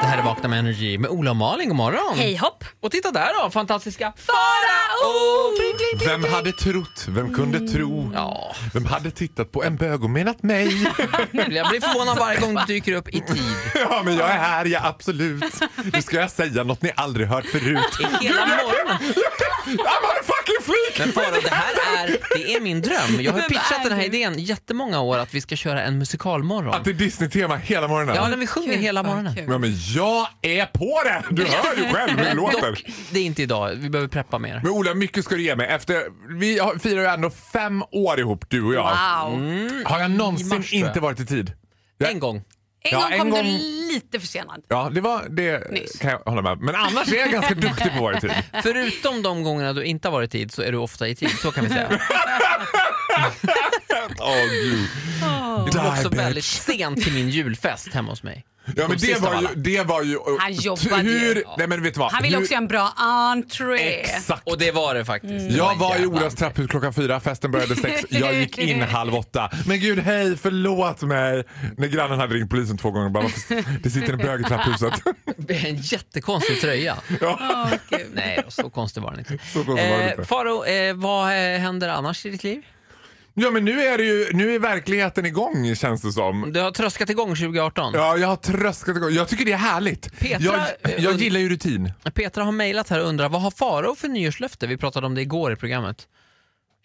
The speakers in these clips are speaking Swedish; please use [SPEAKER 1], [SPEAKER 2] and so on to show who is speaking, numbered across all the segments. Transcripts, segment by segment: [SPEAKER 1] Det här är Vakna med Energy med Ola och Malin. God morgon!
[SPEAKER 2] Hej hopp!
[SPEAKER 1] Och titta där då, fantastiska Farao!
[SPEAKER 3] Vem hade trott? Vem kunde tro?
[SPEAKER 1] Mm. Ja,
[SPEAKER 3] Vem hade tittat på en bög och menat mig?
[SPEAKER 1] nu, jag blir förvånad varje gång du dyker upp i tid.
[SPEAKER 3] ja, men jag är här, ja absolut. Nu ska jag säga något ni aldrig hört förut.
[SPEAKER 1] Hela morgonen.
[SPEAKER 3] I'm on a fucking fleek!
[SPEAKER 1] Men Farao, det här är, det är min dröm. Jag har pitchat den här idén jättemånga år att vi ska köra en musikalmorgon.
[SPEAKER 3] Att det är Disney-tema hela
[SPEAKER 1] Ja,
[SPEAKER 3] morgonen.
[SPEAKER 1] när vi sjunger hela morgonen.
[SPEAKER 3] Ja, men jag är på det! Du hör ju själv hur det låter.
[SPEAKER 1] Dock, det är inte idag. Vi behöver preppa mer.
[SPEAKER 3] Men Ola, mycket ska du ge mig. Efter, vi har- firar ju ändå fem år ihop, du och jag.
[SPEAKER 2] Wow.
[SPEAKER 3] Har jag någonsin
[SPEAKER 1] mars, tror jag.
[SPEAKER 3] inte varit i tid? Jag-
[SPEAKER 1] En gång.
[SPEAKER 2] En
[SPEAKER 3] Ja,
[SPEAKER 2] gång
[SPEAKER 3] en
[SPEAKER 2] kom
[SPEAKER 3] gång-
[SPEAKER 2] du lite försenad.
[SPEAKER 3] Ja, det var det
[SPEAKER 2] Nyss.
[SPEAKER 3] kan jag hålla med om. Men annars är jag ganska duktig på att vara i tid.
[SPEAKER 1] Förutom de gångerna du inte har varit i tid så är du ofta i tid. Så kan vi säga.
[SPEAKER 3] Åh gud.
[SPEAKER 1] Du kom också
[SPEAKER 3] Die,
[SPEAKER 1] väldigt
[SPEAKER 3] bitch.
[SPEAKER 1] sent till min julfest hemma hos mig.
[SPEAKER 3] Ja men
[SPEAKER 1] Kom
[SPEAKER 3] det
[SPEAKER 1] sist av
[SPEAKER 3] var, ju,
[SPEAKER 1] alla.
[SPEAKER 3] det var ju...
[SPEAKER 2] Han jobbade ju.
[SPEAKER 3] hur, Nej men vet du vad?
[SPEAKER 2] Han ville
[SPEAKER 3] hur,
[SPEAKER 2] också göra en bra entré.
[SPEAKER 3] Exakt.
[SPEAKER 1] Och det var det faktiskt. Det
[SPEAKER 3] Mm. Jag
[SPEAKER 1] en
[SPEAKER 3] var i
[SPEAKER 1] jävla
[SPEAKER 3] Olas trapphus klockan fyra, festen började sex, jag gick in halv åtta. Men gud hej, förlåt mig! När grannen hade ringt polisen två gånger och bara varför, det sitter en bög i trapphuset.
[SPEAKER 1] Det är en jättekonstig tröja.
[SPEAKER 3] ja.
[SPEAKER 1] Nej, då, så konstig var den inte.
[SPEAKER 3] Så konstigt var det inte.
[SPEAKER 1] Eh, Faro, eh, vad eh, händer annars i ditt liv?
[SPEAKER 3] ja men nu är det ju, nu är verkligheten igång känns det
[SPEAKER 2] Mm.
[SPEAKER 3] som.
[SPEAKER 1] Du har tröskat igång 2018.
[SPEAKER 3] Ja, jag har tröskat igång. Jag tycker det är härligt.
[SPEAKER 1] Petra,
[SPEAKER 3] jag,
[SPEAKER 1] eh,
[SPEAKER 3] jag gillar ju rutin.
[SPEAKER 1] Petra har mejlat här och undrar vad har Faro för nyårslöfte? Vi pratade om det igår i programmet.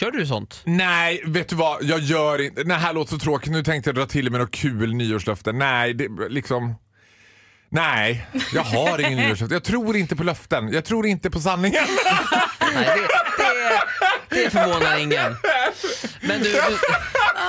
[SPEAKER 1] Kör du sånt?
[SPEAKER 3] Nej, vet du vad? Jag gör inte... Det här låter så tråkigt. Nu tänkte jag dra till med något kul nyårslöfte. Nej, det liksom... Nej, jag har ingen nyårslöfte. Jag tror inte på löften. Jag tror inte på sanningen.
[SPEAKER 1] Nej, det, det, det förvånar ingen. Men du...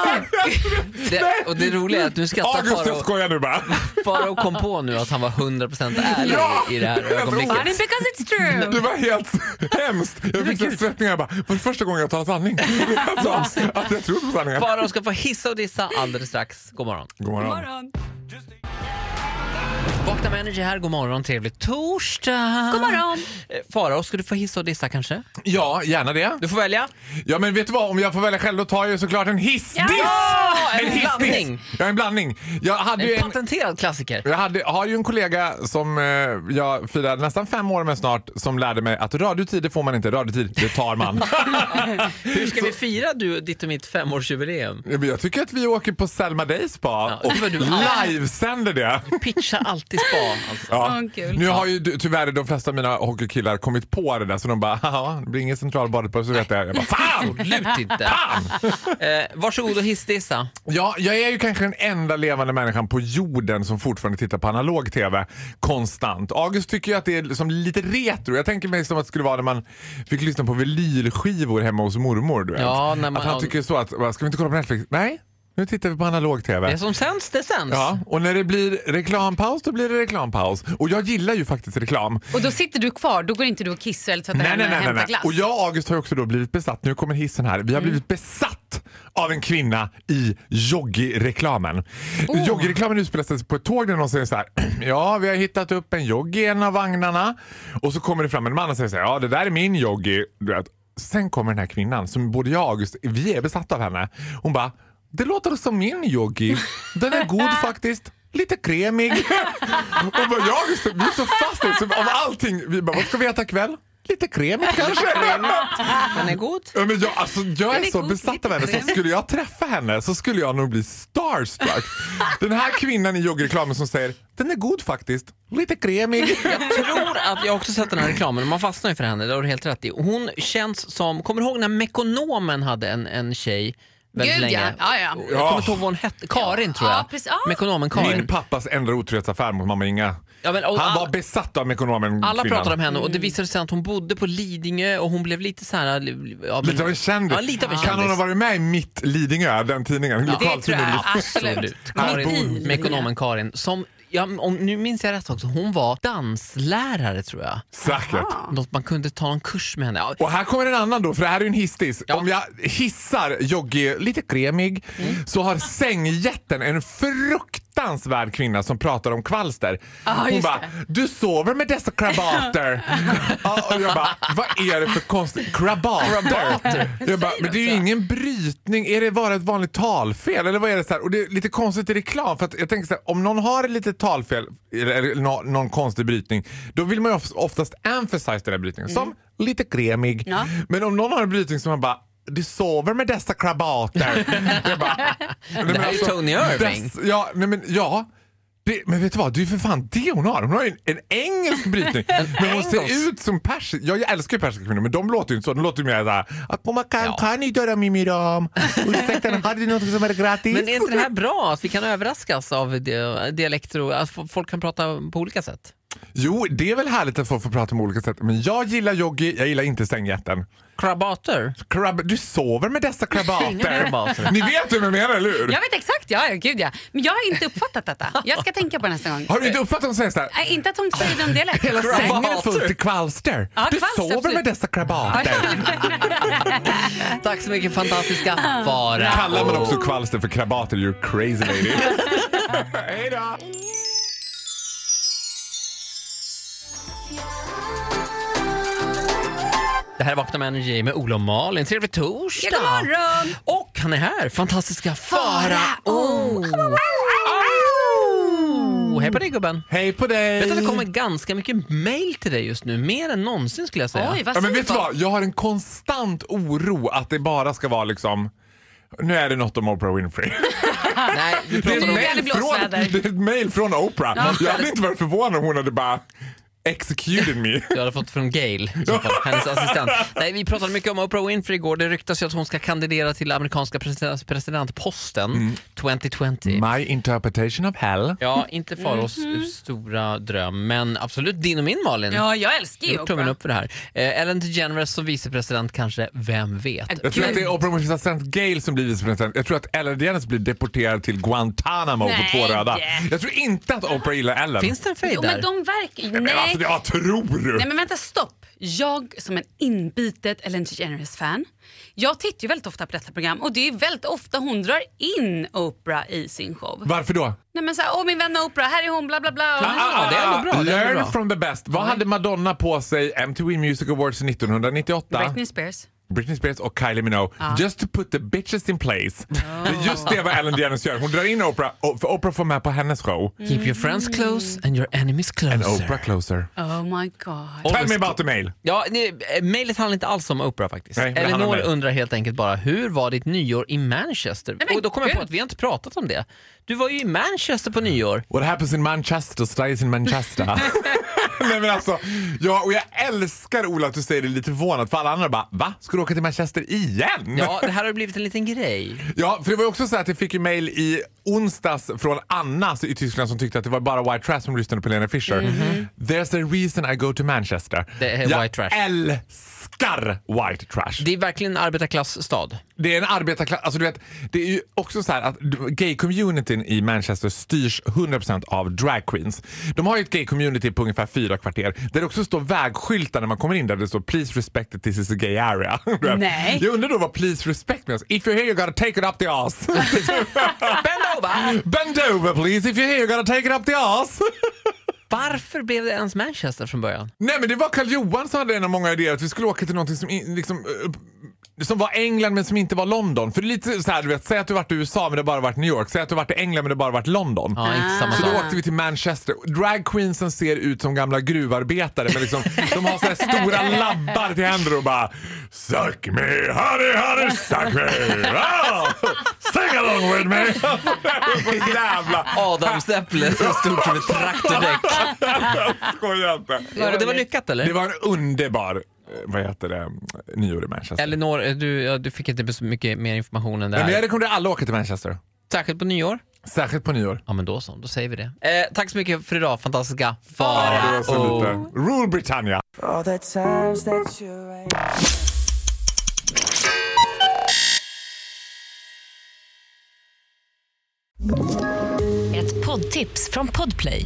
[SPEAKER 1] du det, och det roliga är att nu skrattar
[SPEAKER 3] August, jag
[SPEAKER 1] Faro.
[SPEAKER 3] skojar nu bara.
[SPEAKER 1] Faro kom på nu att han var 100% ärlig
[SPEAKER 3] Ja,
[SPEAKER 1] i det här
[SPEAKER 3] jag tror-
[SPEAKER 1] ögonblicket.
[SPEAKER 2] Funny because it's
[SPEAKER 3] Det
[SPEAKER 2] true.
[SPEAKER 3] var helt hemskt. Jag fick så här svettningar. Jag bara, var det första gången jag talar sanning? Alltså, att jag tror på sanningen.
[SPEAKER 1] Faro ska få hissa och dissa alldeles strax. God morgon.
[SPEAKER 3] God morgon.
[SPEAKER 2] Morgon.
[SPEAKER 1] Vakna med Energy här, god morgon, trevlig torsdag!
[SPEAKER 2] God morgon.
[SPEAKER 1] Eh, Farao, ska du få hissa och dissa kanske?
[SPEAKER 3] Ja, gärna det.
[SPEAKER 1] Du får välja.
[SPEAKER 3] Ja, men vet du vad? Om jag får välja själv då tar jag ju såklart en hissdiss.
[SPEAKER 1] en
[SPEAKER 3] hissdiss.
[SPEAKER 1] blandning.
[SPEAKER 3] Ja, en blandning. Jag hade ju
[SPEAKER 1] En
[SPEAKER 3] en...
[SPEAKER 1] patenterad klassiker.
[SPEAKER 3] Jag hade, har ju en kollega som eh, jag firar nästan fem år med snart som lärde mig att radiotid det får man inte, radiotid det tar man.
[SPEAKER 1] Hur ska vi fira du, ditt och mitt femårsjubileum?
[SPEAKER 3] Ja, men jag tycker att vi åker på Selma Day Spa
[SPEAKER 1] Ja,
[SPEAKER 3] och
[SPEAKER 1] det var du.
[SPEAKER 3] livesänder det.
[SPEAKER 1] Pitcha alltid spa. Alltså.
[SPEAKER 3] Ja.
[SPEAKER 2] Åh, kul.
[SPEAKER 3] Nu har ju du- tyvärr de flesta av mina hockeykillar kommit på det där så de bara haha, det blir ingen centralbadet på så vet jag. Jag bara fan!
[SPEAKER 1] Absolut inte. Eh, varsågod och hissdissa.
[SPEAKER 3] Ja, jag är ju kanske den enda levande människan på jorden som fortfarande tittar på analog TV konstant. August tycker ju att det är liksom lite retro. Jag tänker mig som att det skulle vara när man fick lyssna på vinylskivor hemma hos mormor. Du vet.
[SPEAKER 1] Ja, när man-
[SPEAKER 3] att han tycker så att, "Va, ska vi inte kolla på Netflix? Nej, nu tittar vi på analog TV.
[SPEAKER 1] Det som sänds, det sänds.
[SPEAKER 3] Ja, och när det blir reklampaus, då blir det reklampaus. Och jag gillar ju faktiskt reklam.
[SPEAKER 2] Och då sitter du kvar, då går inte du och kissar eller tvättar
[SPEAKER 3] Nej, nej,
[SPEAKER 2] händerna och
[SPEAKER 3] nej, nej,
[SPEAKER 2] hämtar
[SPEAKER 3] nej.
[SPEAKER 2] glass.
[SPEAKER 3] Och jag och August har ju också då blivit besatt, nu kommer hissen här, vi har blivit besatt av en kvinna i Joggi-reklamen. Joggi-reklamen utspelar sig på ett tåg där någon säger så här, ja vi har hittat upp en Joggi i en av vagnarna. Och så kommer det fram en man och säger så här, ja det där är min Joggi. Du vet. Sen kommer den här kvinnan som både jag och August, vi är besatta av henne. Hon bara, det låter som min Joggi. Den är god faktiskt. Lite kremig. Och bara, jag, just, det, vi är så fast i det, så av allting. Vi bara, vad ska vi äta ikväll? Lite kremigt kanske?
[SPEAKER 1] Den är god.
[SPEAKER 3] Ja, men jag, alltså, jag är
[SPEAKER 2] är
[SPEAKER 3] så
[SPEAKER 2] god,
[SPEAKER 3] besatt
[SPEAKER 2] lite
[SPEAKER 3] av henne, så
[SPEAKER 2] kremigt.
[SPEAKER 3] skulle jag träffa henne så skulle jag nog bli starstruck. Den här kvinnan i joggreklamen som säger den är god faktiskt, lite kremig.
[SPEAKER 1] Jag tror att jag har också sett den här reklamen och man fastnar ju för henne, det har du helt rätt i. Hon känns som, kommer du ihåg när Mekonomen hade en, en tjej väldigt
[SPEAKER 2] Gud, ja.
[SPEAKER 1] länge?
[SPEAKER 2] Ja, ja.
[SPEAKER 1] Jag kommer inte ihåg vad hon hette, Karin tror jag.
[SPEAKER 2] Ja, precis. Ja.
[SPEAKER 1] Mekonomen Karin.
[SPEAKER 3] Min pappas enda otrohetsaffär mot mamma Inga.
[SPEAKER 1] Ja, men, och
[SPEAKER 3] Han
[SPEAKER 1] alla-
[SPEAKER 3] var besatt av ekonomen
[SPEAKER 1] Alla
[SPEAKER 3] kvinnan.
[SPEAKER 1] pratade om henne och det visade sig att hon bodde på Lidingö och hon blev lite så här... Ja, men-
[SPEAKER 3] Lite av en kändis.
[SPEAKER 1] Ja, lite av en
[SPEAKER 3] Kan hon ha
[SPEAKER 1] kändis.
[SPEAKER 3] varit med i Mitt Lidingö, den tidningen?
[SPEAKER 2] det tror
[SPEAKER 3] Lokaltidningen.
[SPEAKER 2] jag absolut.
[SPEAKER 1] Karin,
[SPEAKER 2] Mitt i.
[SPEAKER 1] Mekonomen Karin som ja, om, nu minns jag rätt också, hon var danslärare tror jag.
[SPEAKER 3] Säkert.
[SPEAKER 1] Något man kunde ta en kurs med henne. Ja,
[SPEAKER 3] Och här kommer en annan då, för det här är ju en hissdiss.
[SPEAKER 1] Ja.
[SPEAKER 3] Om jag hissar Jogge lite kremig
[SPEAKER 2] Mm.
[SPEAKER 3] så har sängjätten en fruktansvärd kvinna som pratar om kvalster. Hon
[SPEAKER 2] just
[SPEAKER 3] bara,
[SPEAKER 2] det.
[SPEAKER 3] du sover med dessa krabater. ja, och jag bara, vad är det för konstigt? Krabater? Jag bara,
[SPEAKER 2] Säger
[SPEAKER 3] men
[SPEAKER 2] de
[SPEAKER 3] det är ju
[SPEAKER 2] så?
[SPEAKER 3] ingen brytning. Är det bara ett vanligt talfel? Eller vad är det så här? Och det är lite konstigt i reklam för att jag tänker så här, om någon har ett litet talfel eller, eller nå- någon konstig brytning, då vill man ju of- oftast emphasize den här brytningen som lite kremig.
[SPEAKER 2] Ja.
[SPEAKER 3] Men om någon har en brytning som man bara du sover med dessa krabater. Jag bara, nej, men alltså,
[SPEAKER 1] här är Tony Irving.
[SPEAKER 3] dess- ja, nej, men ja. Det, men vet du vad, det är ju för fan det hon har. Hon har ju en, en engelsk brytning. men hon ser
[SPEAKER 1] engelsk.
[SPEAKER 3] ut som persisk. Jag, jag älskar ju persiska kvinnor men de låter ju inte så. De låter ju mer såhär. Akoma kan, ja. kan ni göra mimiram? Ursäkta, har du något som är gratis?
[SPEAKER 1] Men är inte det här bra att vi kan överraskas av di- dialekter och att f- folk kan prata på olika sätt?
[SPEAKER 3] Jo, det är väl härligt att få, få prata om olika sätt. Men jag gillar joggi, jag gillar inte sängjätten.
[SPEAKER 1] Krabater?
[SPEAKER 3] Krab- du sover med dessa
[SPEAKER 1] Inga krabater.
[SPEAKER 3] krabater. ni vet hur jag menar, eller hur?
[SPEAKER 2] Jag vet exakt, ja, ja, gud ja. Men jag har inte uppfattat detta. Jag ska tänka på det nästa gång.
[SPEAKER 3] Har du inte uppfattat att de säger såhär?
[SPEAKER 2] Nej, inte att hon säger den dialekt.
[SPEAKER 3] Hela sängen är
[SPEAKER 1] Krabater.
[SPEAKER 3] fullt i kvalster.
[SPEAKER 2] Ja,
[SPEAKER 3] du
[SPEAKER 2] kvalster,
[SPEAKER 3] sover med
[SPEAKER 2] absolut.
[SPEAKER 3] dessa krabater.
[SPEAKER 1] Tack så mycket fantastiska Farao.
[SPEAKER 3] Kallar man också kvalster för krabater, you're crazy lady. Hej då!
[SPEAKER 1] Det här är Vakna med Energy med Ola och Malin. Trevlig torsdag!
[SPEAKER 2] God morgon!
[SPEAKER 1] Och han är här, fantastiska Farao! Oh, Hej på dig gubben!
[SPEAKER 3] Hej på dig!
[SPEAKER 1] Vet du att det kommer ganska mycket mail till dig just nu, mer än någonsin skulle jag säga.
[SPEAKER 2] Oj, vad
[SPEAKER 3] ja, men
[SPEAKER 2] säger
[SPEAKER 3] vet du
[SPEAKER 2] folk?
[SPEAKER 3] vad? Jag har en konstant oro att det bara ska vara liksom nu är det något om Oprah Winfrey.
[SPEAKER 1] Nej, du
[SPEAKER 3] Det är,
[SPEAKER 1] pratar
[SPEAKER 3] ett
[SPEAKER 2] Nu
[SPEAKER 1] om...
[SPEAKER 2] är det
[SPEAKER 3] mail från,
[SPEAKER 2] blåsväder.
[SPEAKER 3] det är ett mail från Oprah.
[SPEAKER 2] Ja.
[SPEAKER 3] Jag hade inte varit förvånad om hon hade bara executed me.
[SPEAKER 1] Jag hade fått från Gail, i så fall, hennes assistent. Nej, vi pratade mycket om Oprah Winfrey igår. Det ryktas ju att hon ska kandidera till amerikanska president- presidentposten 2020.
[SPEAKER 3] My interpretation of hell.
[SPEAKER 1] Ja, inte Faros stora dröm, men absolut din och min Malin.
[SPEAKER 2] Ja, jag älskar ju
[SPEAKER 1] Gjort tummen
[SPEAKER 2] Oprah.
[SPEAKER 1] upp för det här. Eh, Ellen DeGeneres som vicepresident kanske, vem vet?
[SPEAKER 2] Äh,
[SPEAKER 3] Jag tror att det
[SPEAKER 2] gud.
[SPEAKER 3] är Oprah Winfreys assistent Gail som blir vicepresident. Jag tror att Ellen DeGeneres blir deporterad till Guantanamo
[SPEAKER 2] Nej.
[SPEAKER 3] på två röda. Jag tror inte att Oprah gillar Ellen.
[SPEAKER 1] Finns det en fejd
[SPEAKER 2] Jo,
[SPEAKER 1] där?
[SPEAKER 2] men de verkar...
[SPEAKER 3] Men
[SPEAKER 2] Nej.
[SPEAKER 3] alltså, jag tror!
[SPEAKER 2] Nej men vänta, stopp. Jag som en inbitet Ellen DeGeneres-fan, jag tittar ju väldigt ofta på detta program och det är väldigt ofta hon drar in Oprah i sin show.
[SPEAKER 3] Varför då?
[SPEAKER 2] Nej men såhär, åh min vän Oprah, här är hon, bla bla bla. Och
[SPEAKER 1] ah, det är ändå bra, det är ändå
[SPEAKER 3] Learn
[SPEAKER 1] bra.
[SPEAKER 3] from the best. Vad hade Madonna på sig MTV Music Awards 1998?
[SPEAKER 2] Britney Spears.
[SPEAKER 3] Britney Spears och Kylie Minogue. Just to put the bitches in place. Det är Just det vad Ellen DeGeneres gör. Hon drar in Oprah, och- för Oprah får med på hennes show.
[SPEAKER 1] Keep your friends
[SPEAKER 2] Mm.
[SPEAKER 1] close and your enemies
[SPEAKER 3] And
[SPEAKER 1] closer.
[SPEAKER 3] Oprah closer.
[SPEAKER 2] Oh my god.
[SPEAKER 3] Tell me about the mail.
[SPEAKER 1] Ja, det, eh, mejlet handlar inte alls om Oprah faktiskt.
[SPEAKER 3] Nej, men det handlar om
[SPEAKER 1] Elinor
[SPEAKER 3] mig.
[SPEAKER 1] undrar helt enkelt bara, hur var ditt nyår i Manchester?
[SPEAKER 2] men
[SPEAKER 1] och då kom jag på
[SPEAKER 2] gud.
[SPEAKER 1] att vi har inte pratat om det. Du var ju i Manchester på nyår.
[SPEAKER 3] What happens in Manchester stays in Manchester. Nej men alltså, ja, och jag älskar Ola att du säger det lite förvånat för alla andra bara va? Ska du åka till Manchester igen?
[SPEAKER 1] Ja, det här har blivit en liten grej.
[SPEAKER 3] Ja, för det var ju också så att jag fick ju mail i onsdags från Anna i Tyskland som tyckte att det var bara white trash som lyssnade på Lena Fischer. There's a reason I go to Manchester.
[SPEAKER 1] Mhm. Det är
[SPEAKER 3] jag
[SPEAKER 1] white trash.
[SPEAKER 3] älskar white trash.
[SPEAKER 1] Det är verkligen en arbetarklassstad.
[SPEAKER 3] Det är en arbetarklass. Alltså du vet, det är ju också så här att gay-communityn i Manchester styrs 100% av drag queens. De har ju ett gay-community på ungefär fyra kvarter där det också står vägskyltar när man kommer in där det står “Please respect that this is a gay area”. Du vet.
[SPEAKER 2] Nej.
[SPEAKER 3] Jag undrar då vad “please respect” means. “If you're here you gotta take it up the ass”.
[SPEAKER 1] Bend over!
[SPEAKER 3] “Bend over please, if you're here you gotta take it up the ass”.
[SPEAKER 1] Varför blev det ens Manchester från början?
[SPEAKER 3] Nej men det var Karl Johan som hade en av många idéer att vi skulle åka till någonting som in, liksom eh, som var England men som inte var London. För det är lite så här, du vet, säg att du varit i USA men det har bara varit New York. Säg att du varit i England men det har bara varit London.
[SPEAKER 1] Ja,
[SPEAKER 2] Ah.
[SPEAKER 1] inte samma
[SPEAKER 3] Så då
[SPEAKER 1] sak.
[SPEAKER 3] åkte vi till Manchester. Dragqueensen ser ut som gamla gruvarbetare. Men liksom, de har så här stora labbar till händer och bara Suck me, honey, honey, suck me. Ah, sing along with me. Så jävla...
[SPEAKER 1] Adamsäpple som stod som ett traktordäck.
[SPEAKER 3] Skoja inte.
[SPEAKER 1] Och det var lyckat eller?
[SPEAKER 3] Det var en underbar, eh, vad heter det, nyår i Manchester.
[SPEAKER 1] Elinor, eh, du, ja, du fick inte så mycket mer information än det
[SPEAKER 3] Nej, men
[SPEAKER 1] här.
[SPEAKER 3] jag rekommenderar alla att åka till Manchester.
[SPEAKER 1] Särskilt på nyår.
[SPEAKER 3] Särskilt på nyår.
[SPEAKER 1] Ja men då så, då säger vi det. Eh, tack så mycket för idag fantastiska
[SPEAKER 3] Ja, det
[SPEAKER 1] Farao.
[SPEAKER 3] var så lite. Rule Britannia!
[SPEAKER 4] All the times that you're right.
[SPEAKER 5] Ett post Poddtips från Podplay.